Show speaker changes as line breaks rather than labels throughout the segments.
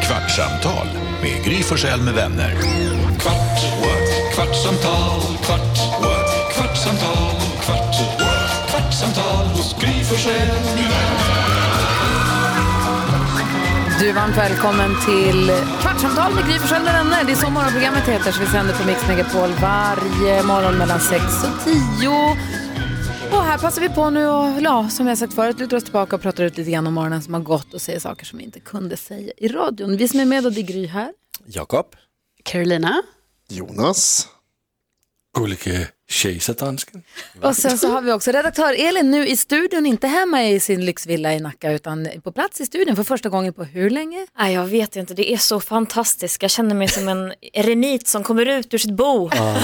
Kvartsamtal med Gry Forssell med vänner. Kvart, what? kvartsamtal, kvart, what? kvartsamtal, kvart, what? kvartsamtal hos Gry Forssell med vänner.
Du är varmt välkommen till Kvartsamtal med Gry Forssell med vänner. Det är så morgonprogrammet heter, så vi sänder på Mix Megapol varje morgon mellan 6 och 10. Och här passar vi på nu och, ja, som jag sagt förut, lutar oss tillbaka och pratar ut lite grann om morgonen som har gått och säger saker som vi inte kunde säga i radion. Vi som är med och det är Gry här.
Jakob.
Carolina.
Jonas.
Gullige kejsardansken.
Och sen så har vi också redaktör Elin nu i studion, inte hemma i sin lyxvilla i Nacka utan på plats i studion för första gången på hur länge?
Nej, jag vet inte, det är så fantastiskt. Jag känner mig som en eremit som kommer ut ur sitt bo. ja,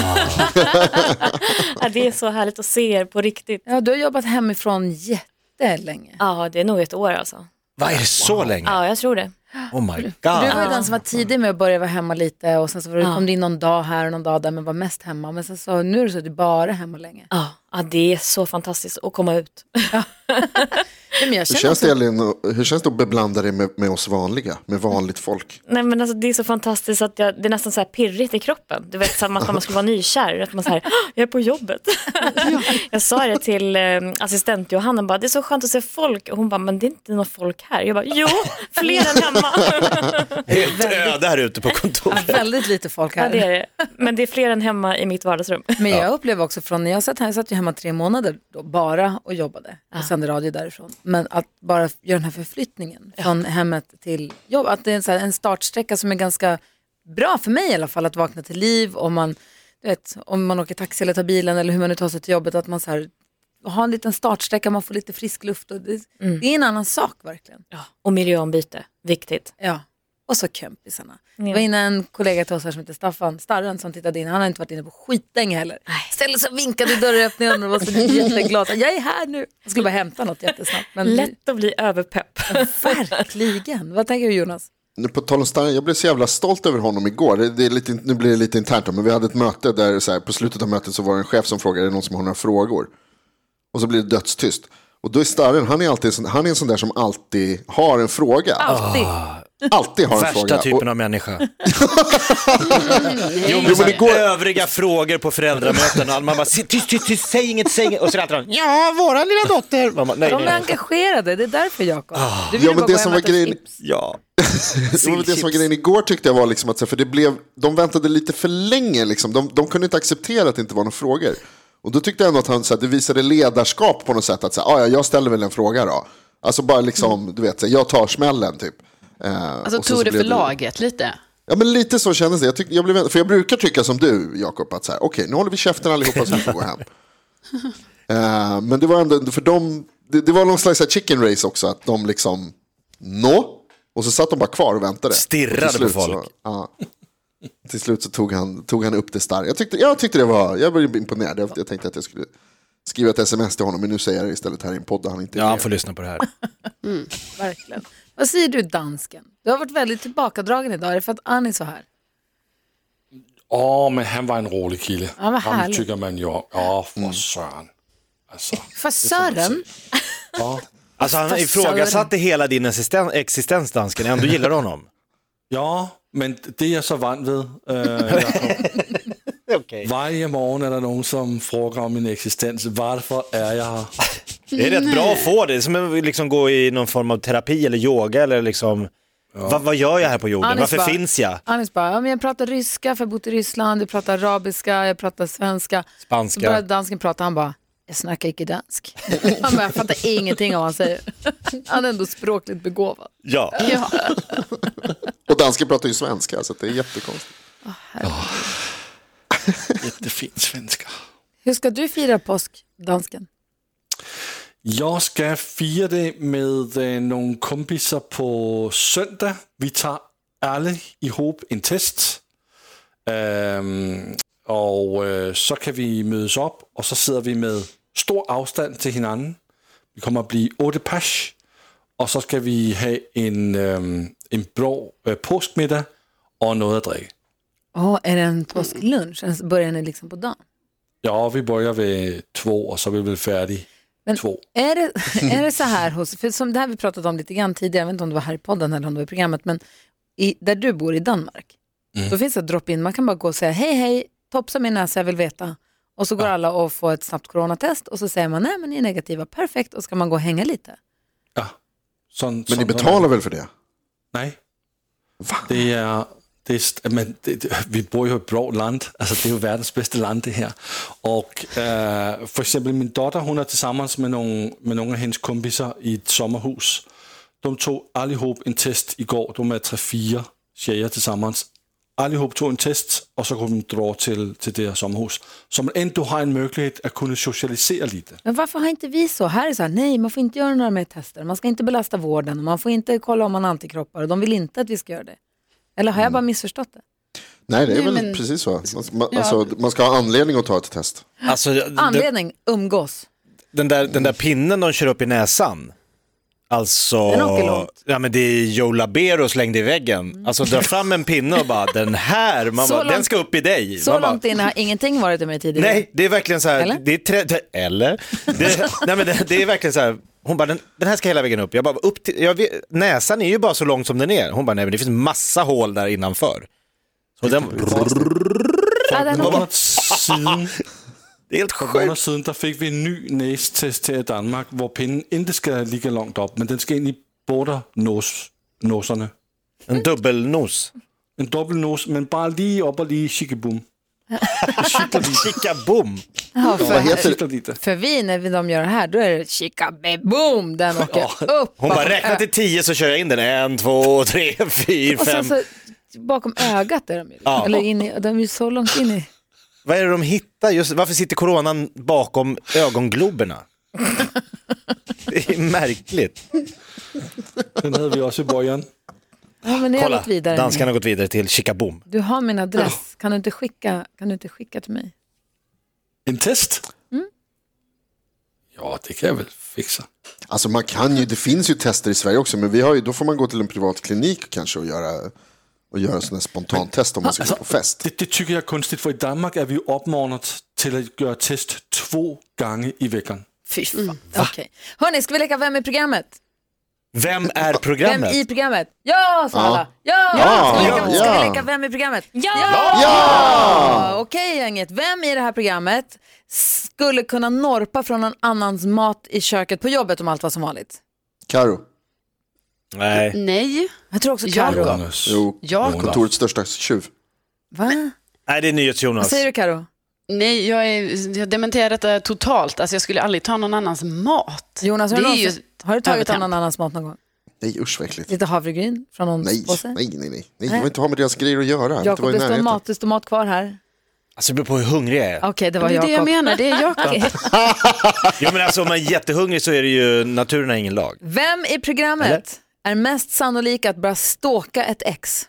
det är så härligt att se er på riktigt.
Ja, du har jobbat hemifrån jättelänge.
Ja, det är nog ett år alltså.
Vad är det så länge?
Ja, jag tror det.
Ah.
Oh my
Du var
god.
ju den som var tidig med att börja vara hemma lite och sen så var du, kom du in någon dag här och någon dag där men var mest hemma. Men sen så, nu är det så att du bara är hemma länge.
Ja, ja det är så fantastiskt att komma ut.
Nej, men jag
Hur
känner
känns,
också,
det, Elin, att- hur känns det att beblanda dig med, med oss vanliga, med vanligt folk?
Nej, men alltså, det är så fantastiskt att jag, det är nästan så här pirrigt i kroppen. Du vet, som att man skulle vara nykär. Att man så här, "Åh, jag är på jobbet. jag sa det till eh, assistent Johanna, bara, det är så skönt att se folk. Och hon bara, men det är inte något folk här. Jag bara, jo, fler än hemma.
Helt öde här ute på kontoret.
väldigt lite folk
Ja,
här.
det är det. Men det är fler än hemma i mitt vardagsrum.
Men jag upplever också från när jag satt här, jag satt ju hemma tre månader då, bara och jobbade och sände radio därifrån. Men att bara göra den här förflyttningen från hemmet till jobb, att det är en, så här, en startsträcka som är ganska bra för mig i alla fall, att vakna till liv om man, du vet, om man åker taxi eller tar bilen eller hur man nu tar sig till jobbet, att man så här, har en liten startsträcka, man får lite frisk luft och det, det är en annan sak verkligen.
Och miljöombyte, viktigt.
Ja. Och så kompisarna. Det var inne en kollega till oss här som heter Staffan Starren som tittade in. Han har inte varit inne på skitlänge heller. Ställde sig och vinkade i dörröppningen och var så jätteglad. Jag är här nu. Jag skulle bara hämta något jättesnabbt. Men
Mm. Lätt att bli överpepp.
verkligen. Vad tänker du Jonas?
Nu På tal om Stein, jag blev så jävla stolt över honom igår. Det, det är lite, nu blir det lite internt, då, men vi hade ett möte där så här, på slutet av mötet så var det en chef som frågade, är det någon som har några frågor? Och så blir det dödstyst. Och då är Starren, han är, alltid, en sån- han är en sån där som alltid har en fråga.
Alltid.
Ah, Alltid
Ah.
har en fråga.
Värsta typen av människa. Jo,
Jo,
men
men
så här,
igår-
Övriga frågor på föräldramöten. och Man bara, "Säg- tyst, tyst, tyst, säg inget, säg inget. Och så är det alltid någon, ja, våra lilla dotter. Man bara, nej,
De är
nej, nej.
engagerade. Det är därför Jakob. Du vill
Ah, Ja, men
bara
det
gå
som
hem och
var
äta
grejen-
chips.
Ja.
Det var väl det som var grejen igår tyckte jag var liksom att så här, för det blev, de väntade lite för länge liksom. De, de kunde inte acceptera att det inte var några frågor. Och då tyckte jag ändå att han så här, det visade ledarskap på något sätt. Att så här, "Ah, ja, jag ställer väl en fråga då. Alltså bara liksom, du vet, så här, jag tar smällen typ. Eh,
Alltså
och sen
tog
så
det
blev
för laget lite.
Ja men lite så kändes det. Jag, tyck, jag blev, för jag brukar tycka som du Jakob, att så här, okej nu håller vi käften allihopa så vi får gå hem. Eh, men det var ändå, för dem, det, det var någon slags så här chicken race också, att de liksom, nå, och så satt de bara kvar och väntade.
Stirrade
Och till slut
på folk.
Så, ja. till slut så tog han, tog han upp det starkt. Jag tyckte, jag tyckte det var, jag blev imponerad. Jag, jag tänkte att jag skulle skriva ett sms till honom, men nu säger jag det istället här i en podd där han inte är
Ja, han
med.
får lyssna på det här.
Verkligen. Vad säger du dansken? Du har varit väldigt tillbakadragen idag. Är det för att Ann är så här?
Åh, men han var en rolig kille.
Han var
han
härlig.
tycker man ju om. Ja, för Sören. Alltså,
För Sören?
ja.
Alltså han
Fast
ifrågasatte hela din existen- existens, dansken. Ändå gillar du honom.
ja, men det är jag så van vid. eh, Jakob. Varje morgon är det någon som frågar om min existens. Varför är jag här?
Det är rätt bra att få det. Det är som att liksom gå i någon form av terapi eller yoga eller liksom, vad, vad gör jag här på jorden?
Anis
Varför
bara-
finns jag?
Anis bara, ja, men jag pratar ryska för jag har bott i Ryssland, jag pratar arabiska, jag pratar svenska.
Spanska.
Så började dansken prata, han bara, jag snackar icke dansk. han bara, jag fattar ingenting av vad han säger. Han är ändå språkligt begåvad.
Ja.
Och dansken pratar ju svenska, så att det är jättekonstigt.
Jättefin svenska.
Hur ska du fira påsk, dansken?
Jag ska fira det med eh, nogle kompisar på söndag. Vi tar alla ihop en test. Ehm, och eh, så kan vi mötas upp och så sitter vi med stor avstånd till hinanden. Vi kommer att bli åtta pers och så ska vi ha en, ehm, en bra äh, påskmiddag och något att dricka.
Åh, är det en påsklunch? Eller Börjar ni liksom på dagen?
Ja, vi börjar vid två och så är vi väl färdiga
Men
två.
Är det, är det så här hos, för som det här vi pratat om lite grann tidigare, jag vet inte om det var här i podden eller om det var i programmet, men i, där du bor i Danmark, då finns det ett drop-in. Man kan bara gå och säga hej, hej, topsa min näsa, jag vill veta. Och så går alla och får ett snabbt coronatest och så säger man nej men ni är negativa, perfekt, och så kan man gå och hänga lite.
Ja. Sådan,
Men ni
sådan-
betalar väl för det?
Nej. Det er... Det er, st- men det, det, vi bor jo i et bra land. Altså, det er jo verdens bedste land, det her. Og øh, for eksempel min dotter, hun er tilsammens med nogle, med nogle af hendes kompiser i et sommerhus. De tog allihop en test i går. De er tre-fire tjejer tilsammens. Allihop tog en test, og så kunne de dra til, til det her sommerhus. Så man endnu har en mulighed at kunne socialisere lidt.
Men varför har inte vi så? Här är det så här, nej man får inte göra några mer tester, man ska inte belasta vården, och man får inte kolla om man har antikroppar och de vill inte att vi ska göra det. Eller
Mm.
har jag bara missförstått det?
Nej, det är
Nej,
väl
men-
precis så. Man, man, alltså, man ska ha anledning att ta ett test.
Alltså, den,
Anledning, umgås.
den, där, den där pinnen de kör upp i näsan. Alltså,
Den åker långt. Mm.
ja, men det är Joe Labero slängde i väggen. Alltså dra fram en pinne och bara den här, man
Så
bara, den
långt-
ska upp i dig.
Så
man bara,
långt in har ingenting varit i mig tidigare.
Nej, det är verkligen så här.
Eller?
Det är trä- trä- eller? Det, nej, men det, det är verkligen så här. Hon bara, den, den här ska hela vägen upp. Jag bara, upp till, jag vet, näsan är ju bara så lång som den är. Hon bara, nej men det finns massa hål där innanför. Så den,
Ja, den åker-
Måneder siden,
det är helt
For måneder
sjukt.
siden, der fik vi en ny næstest her i Danmark, hvor pinden ikke skal ligge langt op, men den skal ind i border-nåserne.
En dubbelnos.
En dobbelt nås, men bare lige op og lige chikibum.
Chicka boom.
Ja,
Vad
för,
heter,
Sikler lidt.
för vi, när vi- de gör det här, då är det chicka boom den åker upp.
Hon
bakom
bara, räkna till tio så kör jag in den. En, två, tre, fyra,
ö- Och sen
fem.
så bakom ögat är de ju.
Ja.
Eller in i, de är ju så långt in i.
Vad är det de hittar? Just, varför sitter coronan bakom ögongloberna? Det är märkligt.
Den havde vi også i bøjeren.
Ja, men nu har jag
Kolla,
gått vidare.
danskarna har gått vidare till chicka boom.
Du har min adress, kan du inte skicka, kan du inte skicka till mig?
En test? Jo, det kan jeg vel fikse.
alltså man kan ju, det finns ju tester i Sverige också, men vi har ju, då får man gå till en privat klinik kanske och göra, och göra sådana spontantest om man ska gå på fest.
Det, det tycker jag är konstigt, för i Danmark är vi ju uppmanat till att göra test två gånger i veckan.
Fy fan. Okej. Hörni, ska vi leka Vem i programmet?
Vem är
Vem
programmet?
i programmet? Ja, sa
Ja.
alla. Ja!
Ja,
Ska, vi leka,
ja.
ska vi leka Vem i programmet? Ja!
Alltså-
Ja! Okej gänget, vem i det här programmet skulle kunna norpa från någon annans mat i köket på jobbet om allt var som vanligt?
Karo, Eh.
Nej.
Nej.
Jag tror också
Jakob.
Karo.
jo,
Jakob.
kontorets största tjuv.
Va?
Nej, det är NyhetsJonas.
Vad säger du Karo?
Nej, jag, är, jag dementerar detta totalt. Alltså, jag skulle aldrig ta någon annans mat.
Jonas, har
det
du,
är ju
någonsin, har du tagit
övertramp.
någon annans mat någon gång?
Nej, usch vad äckligt.
Lite havregryn från någon
Nej,
påse?
nej, nej, nej. nej. Jag vill inte ha med deras grejer att göra. Jag vill inte
Jakob,
vara i
det står,
närheten.
mat, det står mat kvar här.
Alltså det beror på hur hungrig jag är.
Okej, det var
Det är det jag
Jakob.
menar, det är Jakob.
Ja, men alltså om man är jättehungrig så är det ju, naturen har ingen lag.
Vem i programmet är
Eller?
mest sannolik att börja stalka ett ex?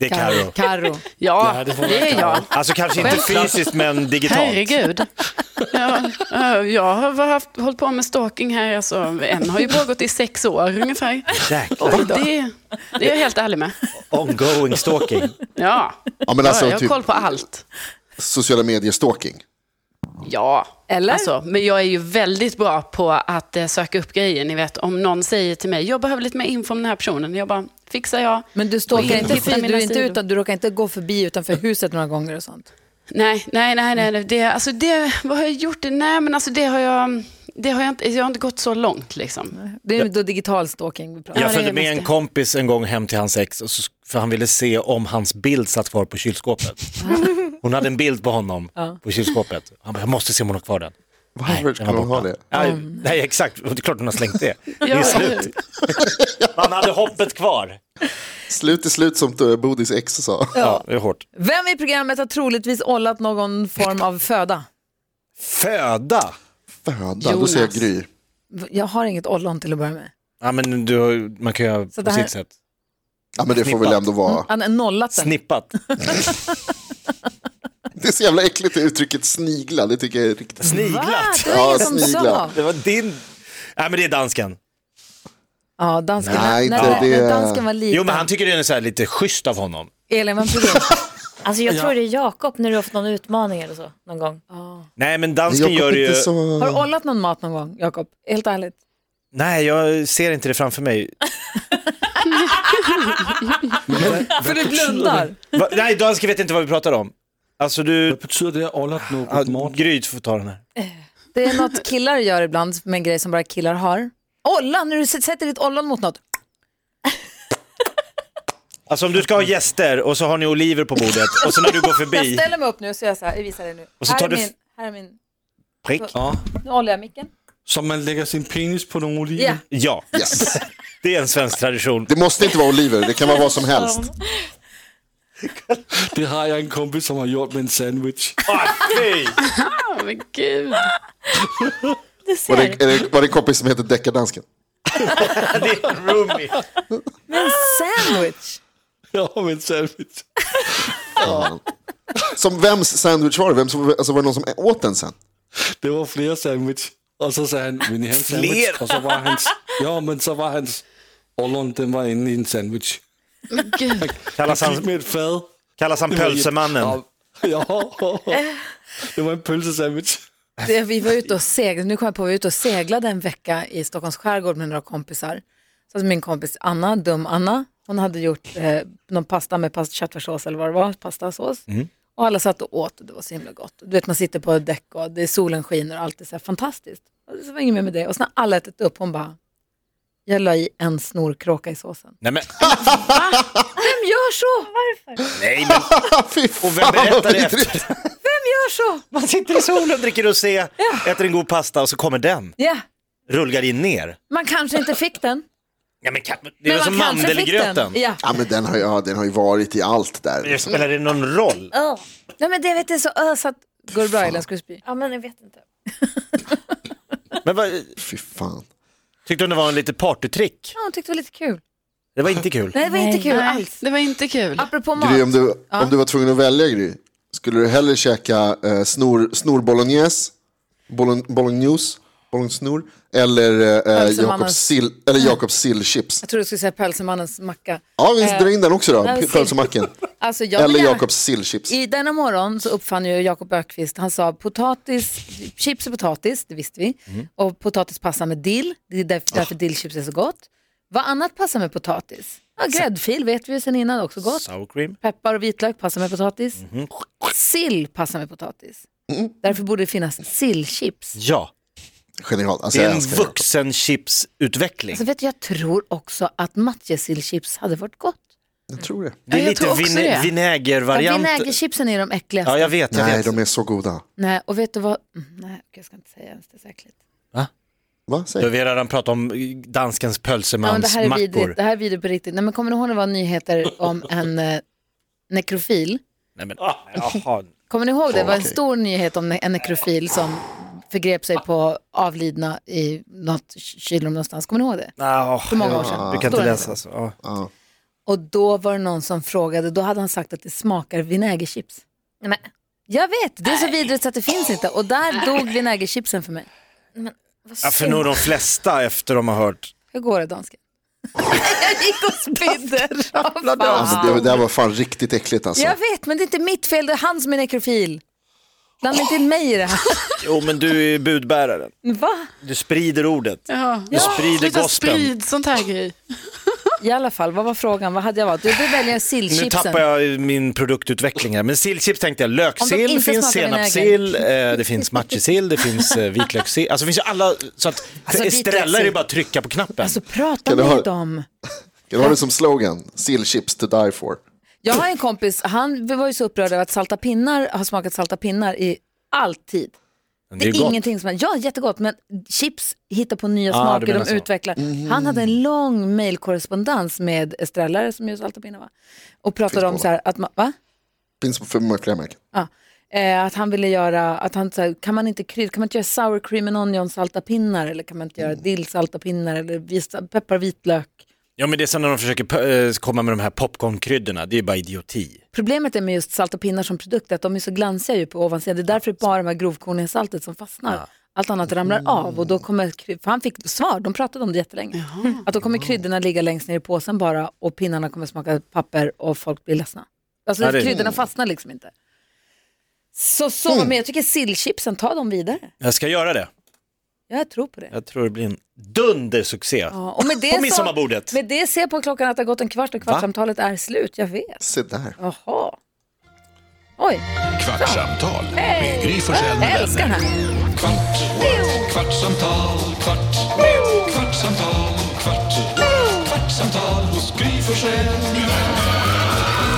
Det är Karo.
Karo.
Ja,
det får man
det är jag.
Alltså kanske inte fysiskt men digitalt.
Herregud. Ja, eh, jag har väl haft, hållit på med stalking här, alltså, en har ju pågått i sex år ungefär.
Jäklar.
Och det, det är jag helt ärlig med.
Ongoing stalking.
Ja,
Ja, men
ja
alltså,
jag har
typ
koll på allt.
sociala medier-stalking.
Ja.
Eller?
Alltså, men jag är ju väldigt bra på att eh, söka upp grejer. Ni vet, om någon säger till mig, jag behöver lite mer info om den här personen. Jag bara, fixar jag.
Men du stalkar
in
inte,
och titta
förbi,
mina
du, är inte
sidor.
utan, du råkar inte gå förbi utanför huset några gånger och sånt?
Nej, nej, nej, nej. nej. Det, alltså det, vad har jag gjort? Nej, men alltså det har jag, det har jag, inte, jag har inte gått så långt liksom.
Det är då digital stalking vi pratar om.
Ja,
Jag
det
följde
är
med en
mest det.
kompis en gång hem till hans ex och så, för han ville se om hans bild satt kvar på kylskåpet. Hon hade en bild på honom på kylskåpet. Han bara, jag måste se om hon har kvar den.
Varför
den
skulle
var
man ha
borta.
det?
Nej, nej exakt, det är klart hon har slängt det. Det är
Ja.
slut. Man hade hoppet kvar.
Slut är slut som eh, Bodis ex sa.
Ja, det är hårt.
Vem i programmet har troligtvis ollat någon form av föda?
Föda.
Föda, då säger jag
Jonas.
Gry.
Jag har inget ollon till att börja med.
Ja, men du, har- man kan göra
Så det
på
här-
sitt sätt.
Ja, men det får väl
Snippat.
ändå vara.
Han har nollat den.
Snippat.
Det är så jävla äckligt det uttrycket snigla. Det tycker jag är riktigt...
Va?
Sniglat.
Ah, Det var ingen
Ja,
som
sniglar.
sa.
Det var din... Nej, men det är dansken.
Ja, dansken,
Nej,
när,
inte
när,
det.
när dansken var liten.
Jo, men han tycker det är så här lite schysst av honom.
Elin, vem tror du?
Alltså jag tror det är Jakob när du har fått någon utmaning eller så någon gång.
Nej, men
Men
dansken
Jakob
gör
är
ju...
inte så...
Har du ollat någon mat någon gång, Jakob? Helt ärligt.
Nej, jag ser inte det framför mig.
För du blundar.
Va? Nej, danska vet inte vad vi pratar om. Alltså du...
Hvad betyder det, at Ollert något
Ja,
ah, morgen?
Gryt får ta den här.
Det är något killar gör ibland med en grej som bara killar har. Ollon, när du s- sätter ditt ollon mot något.
Alltså om du ska ha gäster och så har ni oliver på bordet och så när du går
Jag
förbi,
ställer mig upp nu så jag, så här, jag visar dig nu.
Och så
här,
tar
är
du f-
min, här är min,
prick.
Ja.
nu håller jag micken.
Så man lægger sin penis på nogle oliver?
Ja.
Ja,
Yes.
det är en svensk tradition.
Det måste inte vara oliver, det kan vara vad som helst.
Det har jeg en kompis, som har gjort med en sandwich.
Ah, fy!
Åh, men gud.
Du
Var det,
ser.
är det, var det en kompis som heter Deckardansken?
Det är en roomie.
Men sandwich.
ja, med en sandwich.
Som vems sandwich var det? Vem som, alltså var det någon som åt den sen?
Det var flere sandwich. Og så sagde han, vil I have en sandwich?
Flere?
Og så var hans, ja, men så var hans ollon, den var inde i en sandwich.
Men gud.
Kallas
Han gik
han,
med et fad.
kallas han
Det var-
pölsemannen?
Ja, ja. det var en pølsesandwich.
Det, vi var ute och seglade, nu kom jag på, vi var ute och seglade en vecka i Stockholms skärgård med några kompisar. Så att min kompis Anna, dum Anna, hon hade gjort eh, någon pasta med past, köttfärssås eller vad det var, pastasås.
Mm.
Och alla satt och åt och det var så himla gott. Du vet man sitter på ett däck och det är solen skiner och allt är så här fantastiskt. Och det var inget mer med det. Och sen när alla ätit upp, hon bara, jag la i en snorkråka i såsen.
Nej men,
Vem gör så?
nej men,
Ah, Fy
och vem
fan vad
berättar det
vidrigt!
efter?
Vem gör så?
Man sitter i solen, dricker rosé, äter en god pasta och så kommer den,
Ja,
rullgardin ner.
man kanske inte fick den.
Ja, men, kan- det är
men
väl som
man kanske fick
mandelgröten?
den. Ja.
Ja, men den har, ju- ja, den har ju varit i allt där.
Det spelar det någon roll?
Nej men det vet jag så ösat. Går det bra Elin, ska du spy?
Ja, men jag vet inte.
Men vad,
Fy fan.
tyckte hon det var en lite partytrick?
Ja, hon tyckte det var lite kul.
Det var inte kul.
Nej, det var inte kul
Nej,
alls.
det var inte kul.
Apropå mat.
Gry, om du, om du var tvungen att välja Gry, skulle du hellre käka eh, snor, snor bolognese, bolon, bolognese, bolognessnor, eller eh,
Pölsemannens.
Jakobs sill, eller Jakobs sillchips?
Jag trodde du skulle säga pölsemannens macka.
Ja, vi drar in den också då,
men sill-
pölsemacken.
Alltså, jag vill
Eller
gärna-
Jakobs sillchips.
I denna morgon så uppfann ju Jakob Ökvist, han sa potatis, chips och potatis, det visste vi.
Mm.
Och potatis passar med dill, det är därför, därför
Ah.
dillchips är så gott. Vad annat passar med potatis? Ja, gräddfil vet vi ju sen innan också gott.
Sour cream?
Peppar och vitlök passar med potatis.
Mhm.
Sill passar med potatis.
Mm.
Därför borde det finnas sillchips.
Ja.
Genialt. Alltså,
Det
jag
är en
älskar Jakob.
vuxenchipsutveckling.
Alltså vet du, jag tror också att matjessillchips hade varit gott.
Jag tror det.
Det är
Ja, jag
lite
tror också
vin-
det.
Ja,
vinägervariant.
Vinägerchipsen är de äckligaste.
Ja, jag vet, jag
Nej,
vet.
de är så goda.
Nej, och vet du vad? Mm, Nej, okej, jag ska inte säga ens det så äckligt.
Va? Säg.
Då vi har redan pratat om danskens
Ja, men det här är
pölsemansmackor.
vidrigt. Det här är vidrigt på riktigt. Nej, men kommer ni ihåg när det var nyheter om en eh, nekrofil?
Nej, men, ah, jaha.
Kommer ni ihåg det? Det var en
Okej.
stor nyhet om ne- en nekrofil som förgrep sig på avlidna i något k- kylrum någonstans. Kommer ni ihåg det?
Ah,
För många år
ja,
sedan.
Du kan
Stora
inte läsa så. Ja.
Ja.
Och då var det någon som frågade, då hade han sagt att det smakar vinägerchips.
Nej, men
Jag vet, det är så vidrigt så att det finns inte. Och där dog vinägerchipsen för mig.
vad
Ja, för nog de flesta efter de har hört.
Hur går det dansken? jag gick och spydde. Vad fan.
Alltså, det, det här var fan riktigt äckligt alltså.
Jag vet, men det är inte mitt fel. Det är han som är nekrofil. Blanda inte in mig i det här.
Jo, men du är budbäraren.
Va?
Du sprider ordet.
Ja.
Du sprider
Sluta
gospeln.
sprid sånt här grej.
I alla fall, vad var frågan? Vad hade jag valt? Du, du väljer
Nu
sillchipsen.
tappar jag min produktutveckling här. Men sillchips tänkte jag,
Om de
löksill
inte
finns,
smakar
senapssill, eh, det finns matjessill, det finns eh, vitlökssill. Alltså det finns ju alla, så att för Estrella är det
vitlökssill.
bara att trycka på knappen.
Alltså prata
Kan du ha-
med dem.
Jag har det som slogan, sillchips to die for.
Jag har en kompis, han var ju så upprörd över att salta pinnar har smakat salta pinnar i alltid.
Men
Det är,
gott.
ingenting som är, ja jättegott, men chips hittar på nya
Ah,
smaker,
du menar
de
så. Mhm.
utvecklar. Han hade en lång mejlkorrespondens med Estrella, som ju salta pinnar va? Och pratade om
båda.
så här, att man, va?
Finns för flera märken.
Ja. Eh, att han ville göra, att han så här, kan man inte krydda, kan man inte göra sour cream and onion salta pinnar eller kan man inte
Mm.
göra dill salta pinnar eller visa, peppar vitlök.
Ja men det är sen när de försöker p- eh, komma med de här popcornkryddorna, det är ju bara idioti.
Problemet är med just salta pinnar som produkt är att de är så glansiga ju på ovansidan. Det är därför det bara är de här grovkorniga saltet som fastnar. Allt annat
Mm.
ramlar av och då kommer, kry- för han fick svar, de pratade om det jättelänge. Att då kommer kryddorna ligga längst ner i påsen bara och pinnarna kommer smaka papper och folk blir ledsna. Alltså
Ja, det-
kryddorna fastnar liksom inte.
Mm.
Så så, men jag tycker sillchipsen, ta dem vidare.
Jag ska göra det.
Jag tror på det.
Jag tror det blir en dundersuccé.
Ja, och med det
På midsommarbordet.
Så, med det ser jag på klockan att det har gått en kvart och kvartsamtalet är slut. Jag vet.
Se där.
Jaha. Oj,
Kvartsamtal med Gry Forssell med
jag älskar den
vänner.
här.
Kvart, what? kvartsamtal, kvart, what? kvartsamtal, kvart, what? kvartsamtal hos Gry Forssell med vänner.